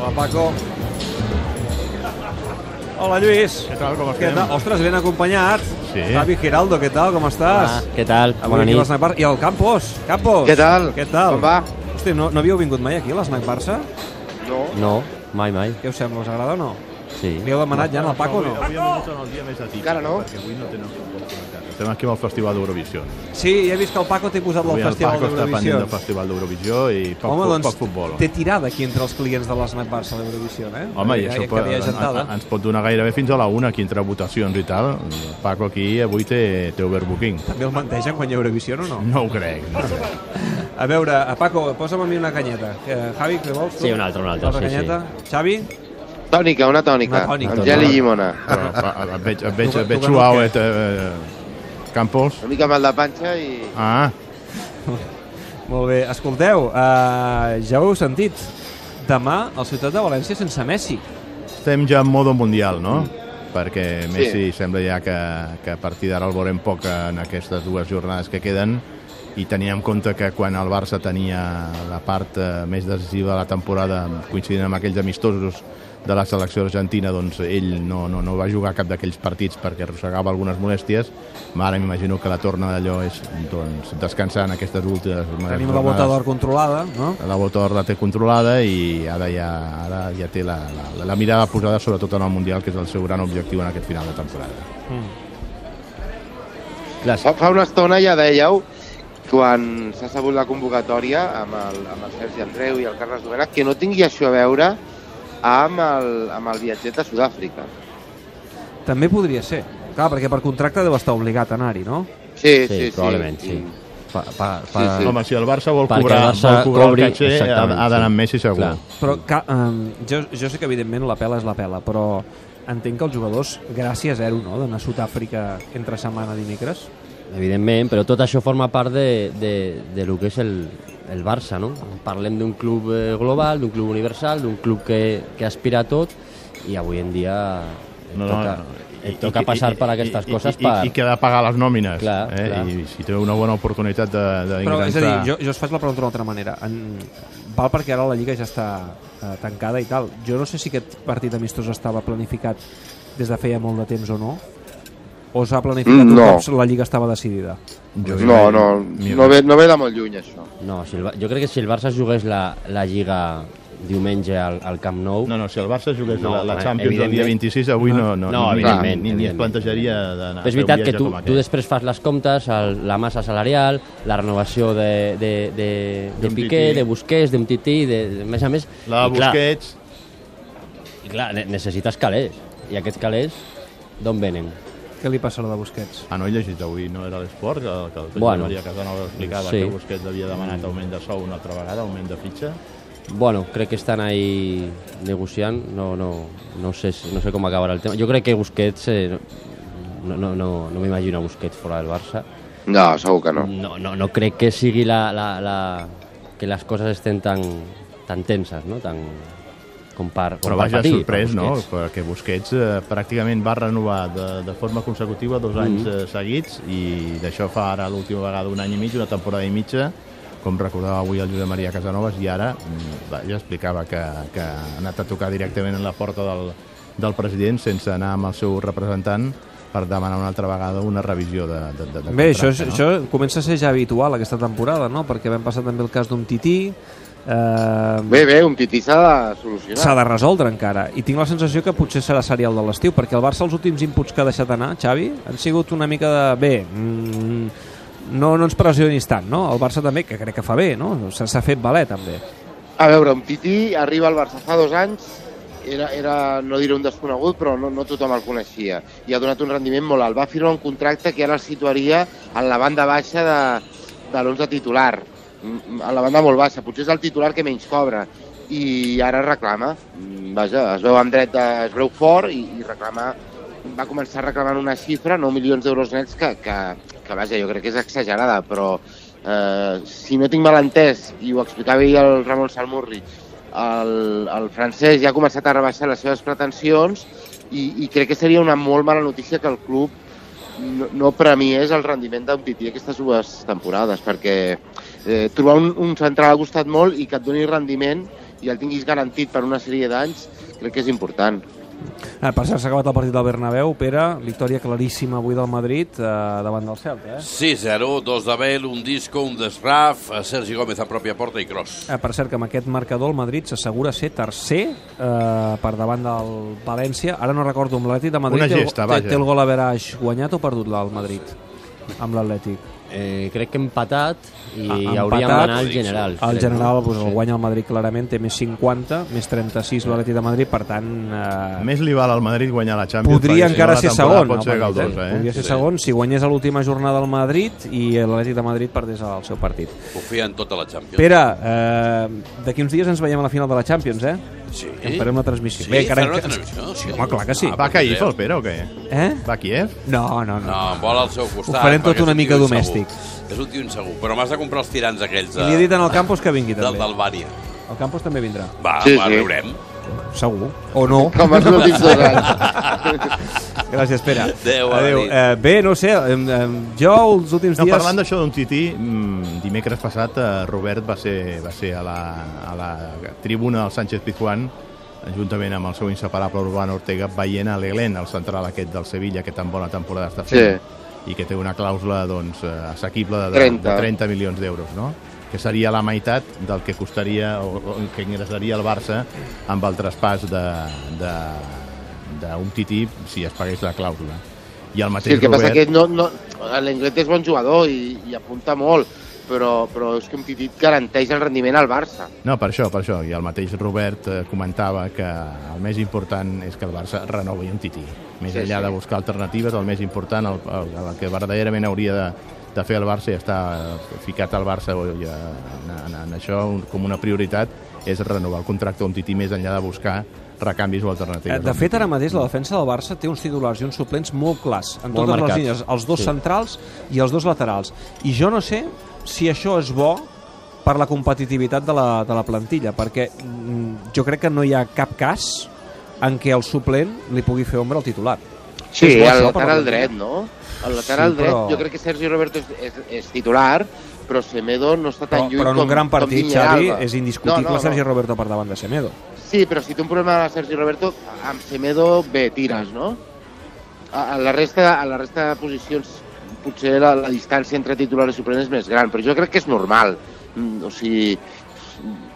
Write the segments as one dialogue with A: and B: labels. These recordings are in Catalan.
A: Hola, Paco. Hola, Lluís.
B: Què tal, com
A: Què
B: estem?
A: tal? Ostres, ben acompanyat.
B: Sí.
A: David Giraldo, què tal, com estàs?
C: Ah, què tal?
A: Avui
C: Bona
A: aquí a
C: nit.
A: l'Snack Bar. I el Campos. Campos.
D: Què tal?
A: Què tal?
D: Com va?
A: Hosti, no, no havíeu vingut mai aquí, a l'Snack Barça?
D: No.
C: No, mai, mai.
A: Què us sembla? Us agrada o no?
C: Sí.
A: Li heu demanat ja al Paco o
B: avui,
A: no?
B: Avui hem vingut en el dia més atípic,
D: Encara no.
B: perquè avui no tenen futbol comentat. Estem aquí amb el Festival d'Eurovisió.
A: Sí, he vist que el Paco t'he posat
B: Avui
A: al
B: el
A: Festival
B: Paco està pendent
A: d'Eurovisió.
B: del Festival d'Eurovisió i poc,
A: Home,
B: fu-
A: doncs,
B: poc futbol.
A: té tirada aquí entre els clients de l'Snack Barça d'Eurovisió, eh?
B: Home, i
A: Ja-
B: això
A: ja
B: pot,
A: que hi ha gentada.
B: en- ens pot donar gairebé fins a la una aquí entre votacions i tal. El Paco aquí avui té, té overbooking.
A: També el menteixen quan hi ha Eurovisió o no?
B: No ho crec. No.
A: A veure, a Paco, posa'm a mi una canyeta. Que, Javi, què vols? tu?
C: Sí, una altra, una altra, sí,
A: canyeta. Xavi?
D: Tònica, una
A: Una
D: tònica.
A: tònica.
D: Amb gel i llimona.
B: Però, pa- et veig, et veig, et veig
A: Tu- tu
B: suau,
A: no
B: et, eh, Campos.
D: Una mica mal de panxa i...
B: Ah,
A: Molt bé, escolteu, uh, ja ho heu sentit. Demà, el Ciutat de València sense Messi.
B: estem ja en modo mundial, no? Perquè
D: Sí.
B: Messi sembla ja que, que a partir d'ara el veurem poc en aquestes dues jornades que queden i tenint en compte que quan el Barça tenia la part eh, més decisiva de la temporada coincidint amb aquells amistosos de la selecció argentina, doncs ell no, no, no va jugar cap d'aquells partits perquè arrossegava algunes molèsties. Ara m'imagino que la torna d'allò és doncs, descansar en aquestes últimes
A: Tenim la
B: jornades.
A: bota d'or controlada, no?
B: la Botor la té controlada i ara ja, ara ja té la, la, la mirada posada sobretot en el Mundial, que és el seu gran objectiu en aquest final de temporada.
D: Fa, fa una estona ja dèieu, quan s'ha sabut la convocatòria amb el, amb el Sergi Andreu i el Carles Domènech, que no tingui això a veure amb el, amb el viatget a Sud-àfrica.
A: També podria ser. Clar, perquè per contracte deu estar obligat a anar-hi, no?
D: Sí, sí,
C: Sí,
D: sí.
C: probablement, sí. Pa, pa, pa...
D: Sí, sí.
B: Home, si el Barça vol
C: Perquè
B: cobrar,
C: el Barça
B: vol cobrar
C: cobri-
B: el caché, ha,
C: exactament,
B: ha d'anar amb
C: sí.
B: Messi segur.
C: Clar.
A: Però ca, um, jo, jo sé que evidentment la pela és la pela, però entenc que els jugadors, gràcies a zero, no?, d'anar a Sud-àfrica entre setmana dimecres.
C: Evidentment, però tot això forma part de, de, de lo que és el, el Barça, no? Parlem d'un club eh, global, d'un club universal, d'un club que, que aspira a tot i avui en dia et
B: No, no,
C: toca,
B: no.
C: Et toca passar per aquestes coses
B: i, i, i, i que ha de pagar les nòmines
C: Clar,
B: eh?
C: clar.
B: i si té una bona oportunitat de, de
A: Però, és a dir, jo, jo us faig la pregunta d'una altra manera. En, val perquè ara la Lliga ja està eh, tancada i tal. Jo no sé si aquest partit amistós estava planificat des de feia molt de temps o no. O s'ha planificat
D: Mm,
A: un
D: no.
A: cop la Lliga estava decidida.
D: No, no, no ve, no ve de molt lluny, això.
C: No, si el, Ba- jo crec que si el Barça es jugués la, la Lliga diumenge al, al Camp Nou...
B: No, no, si el Barça jugués
C: No,
B: la, la
C: home,
B: Champions el dia
C: evidentment.
B: 26, avui no, no,
C: No,
B: ni-
C: evidentment,
B: ni, ni es
C: evidentment.
B: plantejaria d'anar a fer
C: Però és
B: un
C: veritat que
B: viatge
C: tu,
B: com
C: tu
B: aquest.
C: després fas les comptes, el, la massa salarial, la renovació de, de, de, de
B: D'un
C: Piqué,
B: tití.
C: de Busquets, d'un tití, de, de, més a més...
B: La
C: i clar,
B: Busquets,
C: I clar, ne- necessites calés. I aquests calés, d'on venen?
A: Què li passarà de Busquets?
B: Ah, no he llegit avui, no era l'esport, que, que el Josep
C: Bueno.
B: Maria Casanova explicava
C: Sí.
B: que Busquets havia demanat augment de sou una altra vegada, augment de fitxa.
C: Bueno, crec que estan ahí negociant, no, no, no, sé, si- no sé com acabarà el tema. Jo crec que Busquets... Eh, no no, no, no m'imagino a Busquets fora del Barça.
D: No, segur que no.
C: No, no, no crec que sigui la, la, la... que les coses estan tan, tan tenses, no? Tan, com per, com
B: Però
C: per
B: vaja,
C: patir,
B: sorprès,
C: per
B: no?
C: Busquets.
B: Perquè Busquets eh, pràcticament va renovar de, de forma consecutiva dos anys eh, seguits i d'això fa ara l'última vegada un any i mig, una temporada i mitja, com recordava avui el Josep Maria Casanovas, i ara mm, va, ja explicava que, que ha anat a tocar directament en la porta del, del president sense anar amb el seu representant per demanar una altra vegada una revisió de, de, de, de
A: Bé, això, és,
B: contracte, no?
A: això comença a ser ja habitual aquesta temporada, no? Perquè vam passar també el cas d'un tití... Eh,
D: Bé, bé, un tití s'ha de solucionar.
A: s'ha de resoldre encara i tinc la sensació que potser serà serial de l'estiu perquè el Barça els últims inputs que ha deixat anar Xavi han sigut una mica de bé mm, no, no ens pressionis tant no? el Barça també, que crec que fa bé no? S'ha- s'ha fet valer també
D: A veure, un Tití arriba al Barça fa dos anys, era, era no diré un desconegut, però no, no tothom el coneixia, i ha donat un rendiment molt alt. Va firmar un contracte que ara el situaria en la banda baixa de, de l'11 titular, Mm, a la banda molt baixa, potser és el titular que menys cobra, i ara reclama, Mm, vaja, es veu amb dret, de, es veu fort i, i reclama va començar reclamant una xifra, 9 milions d'euros nets, que, que, que vaja, jo crec que és exagerada, però eh, si no tinc mal entès, i ho explicava ahir el Ramon Salmurri, el, el francès ja ha començat a rebaixar les seves pretensions i, i crec que seria una molt mala notícia que el club no, no premiés el rendiment d'un Tití aquestes dues temporades, perquè eh, trobar un, un central ha costat molt i que et doni rendiment i el tinguis garantit per una sèrie d'anys, crec que és important.
A: Ah, per cert, s'ha acabat el partit del Bernabéu, Pere, victòria claríssima avui del Madrid eh, davant del Celta. Eh?
E: 6-0, dos d'Abel, un disco, un desraf, Sergi Gómez a pròpia porta i cross.
A: Eh, per cert, que amb aquest marcador el Madrid s'assegura ser tercer eh, per davant del València. Ara no recordo, amb l'Atlètic de Madrid
B: Una
A: té el-
B: gesta,
A: té,
B: vaja.
A: té el gol a Verage guanyat o perdut la- el Madrid amb l'Atlètic.
C: Eh, crec que empatat i
A: Ah,
C: hauríem
A: empatat.
C: d'anar al general.
A: El
C: crec,
A: general
C: no?
A: pues, el
C: Sí.
A: guanya el Madrid clarament, té més 50, més 36 l'Atlètic de Madrid, per tant... Eh,
B: Més li val al Madrid guanyar la Champions.
A: podria
B: perquè si no,
A: encara
B: la
A: ser
B: temporada
A: segon.
B: Pot ser
A: el Madrid,
B: galdosa, eh?
A: Podria ser
E: Sí.
A: segon si guanyés a l'última jornada al Madrid i l'Atlètic de Madrid perdés el seu partit.
E: Confia en tota la Champions.
A: Pere, eh, d'aquí uns dies ens veiem a la final de la Champions, eh?
E: Sí.
A: En farem una transmissió.
E: Sí,
A: Bé, encara
E: farem una
A: que-
E: transmissió. Sí, Ah,
A: home, clar que sí.
B: Va
E: pues
B: a Caif,
E: mireu.
B: el Pere, o què?
A: Eh?
B: Va a Kiev?
A: No, no,
E: No,
A: no.
E: em vol al seu costat.
A: Ho farem tot
E: perquè
A: una
E: és un
A: mica
E: tio
A: domèstic.
E: insegur. És un tio insegur, però m'has de comprar els tirants aquells
A: I
E: de,
A: li he dit en el Campos que vingui
E: del-
A: també.
E: d'Albània.
A: El Campos també vindrà,
E: Va,
D: Sí,
E: va,
D: sí.
E: riurem.
A: segur. O no.
D: Com els últims dos anys.
A: Gràcies, Pere.
E: Adéu, bona nit.
A: Eh, bé, no ho sé, em- em- jo els últims
B: No,
A: dies...
B: parlant d'això d'un tití, mm, dimecres passat eh, Robert va ser, va ser a, la, a la tribuna del Sánchez Pizjuán juntament amb el seu inseparable Urbano Ortega veient a l'Eglen, el central aquest del Sevilla que tan bona temporada està fent i que té una clàusula doncs, eh, assequible de,
D: 30.
B: de 30 milions d'euros no? que seria la meitat del que costaria o, o que ingressaria el Barça amb el traspàs de- de- d'un tití si es pagués la clàusula i el
D: Sí,
B: mateix
D: el que passa
B: Robert...
D: que no, no, l'Englet és bon jugador i, i apunta molt, però, però és que un titit garanteix el rendiment al Barça.
B: No, per això, per això. I el mateix Robert eh, comentava que el més important és que el Barça renovi un tití. Més
D: Sí,
B: sí, enllà
D: sí.
B: sí. de buscar alternatives, el més important, el, el, el que verdaderament hauria de, de fer el Barça i està eh, ficat al Barça o, ja, en, en, en això un, com una prioritat, és renovar el contracte un tití més enllà de buscar recanvis o alternatives.
A: Eh, De fet, ara mateix la defensa del Barça té uns titulars i uns suplents molt clars, en
C: Molt
A: totes
C: marcats.
A: les línies, els dos
C: Sí.
A: centrals i els dos laterals. I jo no sé si això és bo per la competitivitat de la, de la plantilla, perquè mm, jo crec que no hi ha cap cas en què el suplent li pugui fer ombra al titular.
D: Sí,
A: És bo
D: el
A: això, però-
D: lateral dret, no? El lateral
A: Sí,
D: dret,
A: però-
D: jo crec que Sergio Roberto és, és, és titular, però Semedo no està
A: Però,
D: tan lluny
A: però en un
D: com,
A: gran
D: com
A: partit,
D: Digne
A: Xavi,
D: Alba.
A: és indiscutible
D: No, no, no.
A: Sergi Roberto per davant de Semedo.
D: Sí, però si té un problema a Sergi Roberto, amb Semedo, bé, tires, no? A, a, la, resta, a la resta de posicions potser la, la distància entre titular i suplent és més gran, però jo crec que és normal. Mm, o sigui,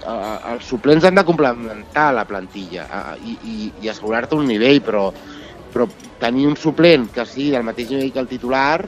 D: a, a, els suplents han de complementar la plantilla a, a, i, i, i assegurar-te un nivell, però, però tenir un suplent que sigui del mateix nivell que el titular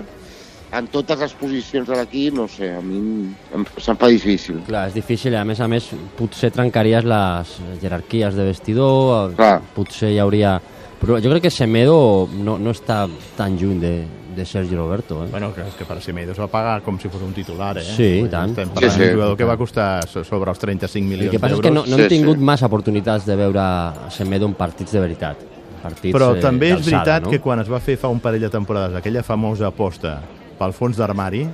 D: en totes les posicions de l'equip, no ho sé, a mi em- em, se'm fa difícil.
C: Clar, és difícil i a més a més potser trencaries les jerarquies de vestidor, eh,
D: Clar.
C: potser hi hauria... Però jo crec que Semedo no, no està tan lluny de, de Sergi Roberto. Eh?
B: Bueno, que, que per Semedo es va pagar com si fos un titular, eh?
C: Sí, i tant.
B: Estem
C: Sí,
B: parlant
D: sí.
B: d'un jugador que va costar so- sobre els 35
C: El
B: milions d'euros.
C: que passa és que no, no hem
D: Sí, sí.
C: tingut massa oportunitats de veure Semedo en partits de veritat. Partits,
B: Però
C: eh,
B: també és
C: d'alçada,
B: veritat
C: no?
B: que quan es va fer fa un parell de temporades aquella famosa aposta pel fons d'armari,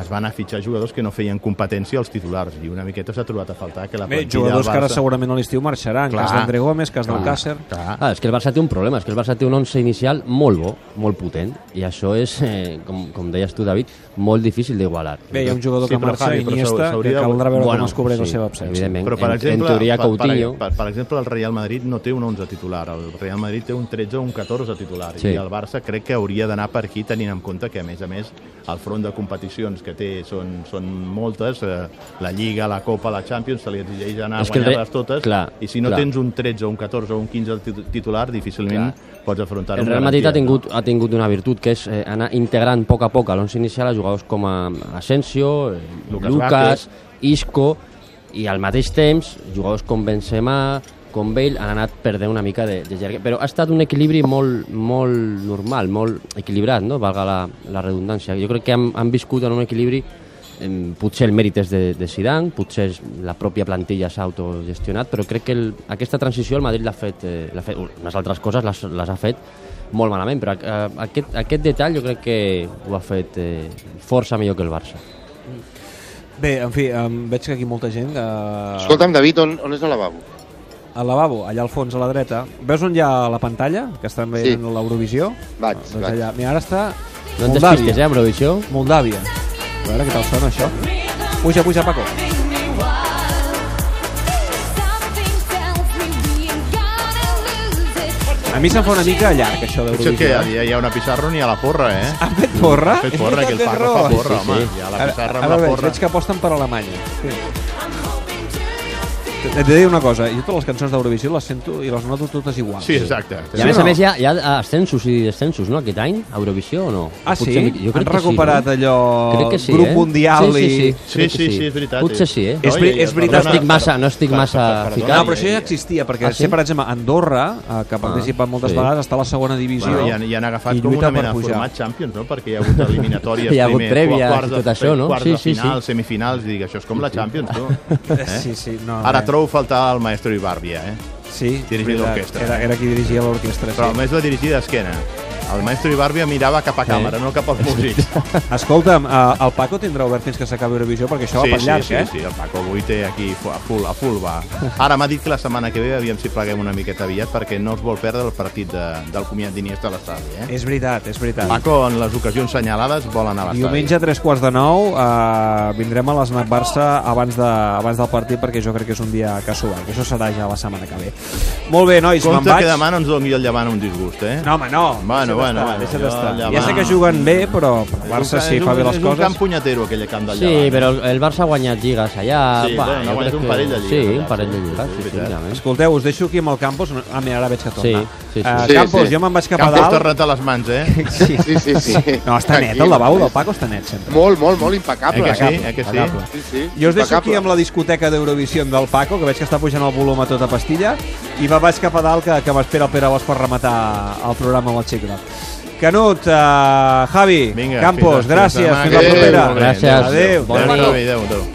B: es van a fitxar jugadors que no feien competència als titulars i una miqueta s'ha trobat a faltar que la
A: Bé,
B: plantilla
A: jugadors
B: del
A: que ara
B: Barça-
A: segurament a l'estiu marxaran,
B: Clar.
A: cas d'André Gómez, cas del Càcer...
B: Clar.
C: Ah, és que el Barça té un problema, és que el Barça té un 11 inicial molt bo, molt potent, i això és, eh, com, com deies tu, David, molt difícil d'igualar.
A: Bé, hi ha un jugador
B: Sí,
A: que
B: però,
A: marxa,
B: Javi, però
A: Iniesta, que
B: s'hauria de-
A: caldrà veure com
C: Bueno,
A: es cobreix la
C: sí,
A: seva absència.
C: evidentment.
B: Però, per
C: En- en
B: exemple,
C: teoria,
B: per, per,
C: Coutinho-
B: per, per exemple, el Real Madrid no té un 11 titular. El Real Madrid té un 13 o un 14 titular.
C: Sí.
B: I el Barça crec que hauria d'anar per aquí tenint en compte que, a més a més, el front de competicions que té són, són moltes. Eh, la Lliga, la Copa, la Champions, se li exigeix anar a
C: És que el Re-
B: guanyar-les totes.
C: clar,
B: I si no
C: clar.
B: tens un 13 o un 14 o un 15 titu- titular, difícilment pots afrontar
C: El Real Madrid ha tingut, ha tingut una virtut que és eh, anar integrant a poc a poc a l'11 inicial a jugadors com a Asensio, eh,
B: Lucas
C: Lucas, Lucas Isco i al mateix temps jugadors com Benzema, com Bale han anat perdent una mica de, de jerga. Però ha estat un equilibri molt, molt normal, molt equilibrat, no? valga la, la redundància. Jo crec que han, han viscut en un equilibri em, potser el mèrit és de, de Zidane, potser és la pròpia plantilla s'ha autogestionat, però crec que el, aquesta transició el Madrid l'ha fet, eh, l'ha fet, unes altres coses les, les ha fet molt malament, però eh, aquest, aquest detall jo crec que ho ha fet eh, força millor que el Barça.
A: Bé, en fi, em veig que aquí molta gent... Eh,
D: Escolta'm, David, on, on és el lavabo?
A: Al lavabo, allà al fons, a la dreta. Veus on hi ha la pantalla? Que estan veient
D: Sí.
A: l'Eurovisió?
D: Vaig,
A: Ah,
D: vaig.
A: doncs allà. Mira, ara està
C: No et despistes, eh,
A: Moldàvia.
C: Eurovisió?
A: Moldàvia. A veure què tal sona això. Puja, puja, Paco.
F: Something
A: A mi se'm fa una mica llarg, això
B: Potser que hi
A: d'Eurovisió.
B: ha, hi ha una pissarra ni a la porra, eh?
A: Ha fet porra?
B: Ha fet porra, que el Paco fa porra, home. Hi ha la pissarra amb la
A: veig,
B: porra.
A: veig que aposten per Alemanya. Sí. Et diré una cosa, jo totes les cançons d'Eurovisió les sento i les noto totes iguals.
B: Sí, exacte.
C: I a més
A: o
C: a
A: no?
C: més hi ha, hi ha ascensos i descensos, no?, aquest any, a Eurovisió o no?
A: Ah, sí?
C: Potser mi- Jo crec
A: Han
C: que
A: recuperat
C: sí,
A: allò...
C: no? Crec que sí,
A: grup
C: eh?
A: mundial
C: sí, sí,
A: i...
C: sí, crec
B: Sí,
C: que
B: sí, sí, és veritat.
C: Potser sí, eh?
A: És
B: Oi,
A: veri- és veritat.
B: perdona,
A: No estic
C: massa- no estic
B: per- per-
C: massa
B: per- perdona,
C: ficat.
A: No, però això ja
B: eh,
A: existia, perquè
C: Ah, sí?
A: sé, per exemple, Andorra, eh, que ha participat moltes
C: sí.
A: vegades, està a la segona divisió.
B: Bueno, i, han, I han agafat
A: i
B: com
A: lluita
B: una
A: per
B: mena de
A: pujar.
B: format Champions, no? Perquè hi ha hagut eliminatòries
C: Hi ha hagut
B: primer,
C: prèvies
B: quarts
C: i
B: de,
C: tot això, no?
B: quarts
C: Sí,
B: de
C: sí, sí.
B: final, semifinals, dic, això és com la Champions, tu. Eh?
A: Sí, sí, no,
B: Ara
A: eh,
B: trobo faltar el maestro Ibarbia, eh?
A: sí,
B: dirigir
A: veritat,
B: l'orquestra.
A: Era, era qui dirigia l'orquestra,
B: Però
A: sí.
B: almenys la dirigir d'esquena. El maestro Ibarbia mirava cap a càmera, no cap als músics.
A: Escolta'm, eh, el Paco tindrà obert fins que s'acabi Eurovisió, perquè això va per llarg,
B: sí,
A: eh?
B: sí, el Paco avui té aquí fu- a full, a full va. Ara m'ha dit que la setmana que ve aviam si pleguem una miqueta aviat perquè no es vol perdre el partit de, del comiat d'Iniesta a l'estadi, eh?
A: És veritat, és veritat.
B: Paco, en les ocasions senyalades, vol anar a l'estadi.
A: Diumenge a tres quarts de nou eh, vindrem a l'Snac Barça abans, de, abans del partit perquè jo crec que és un dia casual, que això serà ja la setmana que ve. Molt bé, nois, me'n
B: Compte
A: vaig.
B: que demà no ens doni el llevant un disgust, eh?
A: No, home, no.
B: Bueno,
A: Deixa't
B: bueno,
A: estar,
B: bueno,
A: Deixa't
B: jo
A: estar.
B: ja
A: Ja
B: va.
A: sé que juguen bé, però el Barça si
B: És un-
A: fa bé les
B: És un gran
A: coses...
B: punyetero, aquell camp del
C: Sí,
B: llevant.
C: però el- el Barça ha guanyat lligues allà.
B: eh? Sí,
C: va,
B: bueno, ha
C: jo
B: guanyat
C: crec
B: un parell de lligues
C: Sí,
B: allà,
C: un parell de
B: sí,
C: lligues,
B: sí,
C: sí,
B: és
C: sí,
B: veritat.
C: realment.
A: Escolteu, us deixo aquí amb el Campos. Ah, mira, ara veig que torna.
C: Sí, sí, sí.
A: Eh,
D: Sí,
A: Campos,
D: sí.
A: jo me'n vaig cap a
B: Campos t'ha
A: dalt.
B: rentat les mans, eh?
A: Sí.
D: Sí, sí, sí.
A: No, està net, eh,
D: Tranquil,
A: el lavabo del Paco està net sempre.
D: Molt, molt, molt impecable.
B: Eh que sí,
A: Impecable,
B: eh que sí.
A: impecable.
D: Sí, sí,
A: Jo us deixo aquí
D: impecable.
A: amb la discoteca d'Eurovisió del Paco, que veig que està pujant el volum a tota pastilla, i va baix cap a dalt, que, que m'espera el Pere Bosch per rematar el programa amb el Xicla. Canut, uh, Javi,
B: Vinga,
A: Campos,
B: fins la-
A: gràcies,
B: demà,
A: fins la
B: que vagi
A: propera.
B: molt bé.
C: Gràcies.
B: Adéu.
A: Bon
B: Adéu,
A: dia.
B: Adéu, adéu.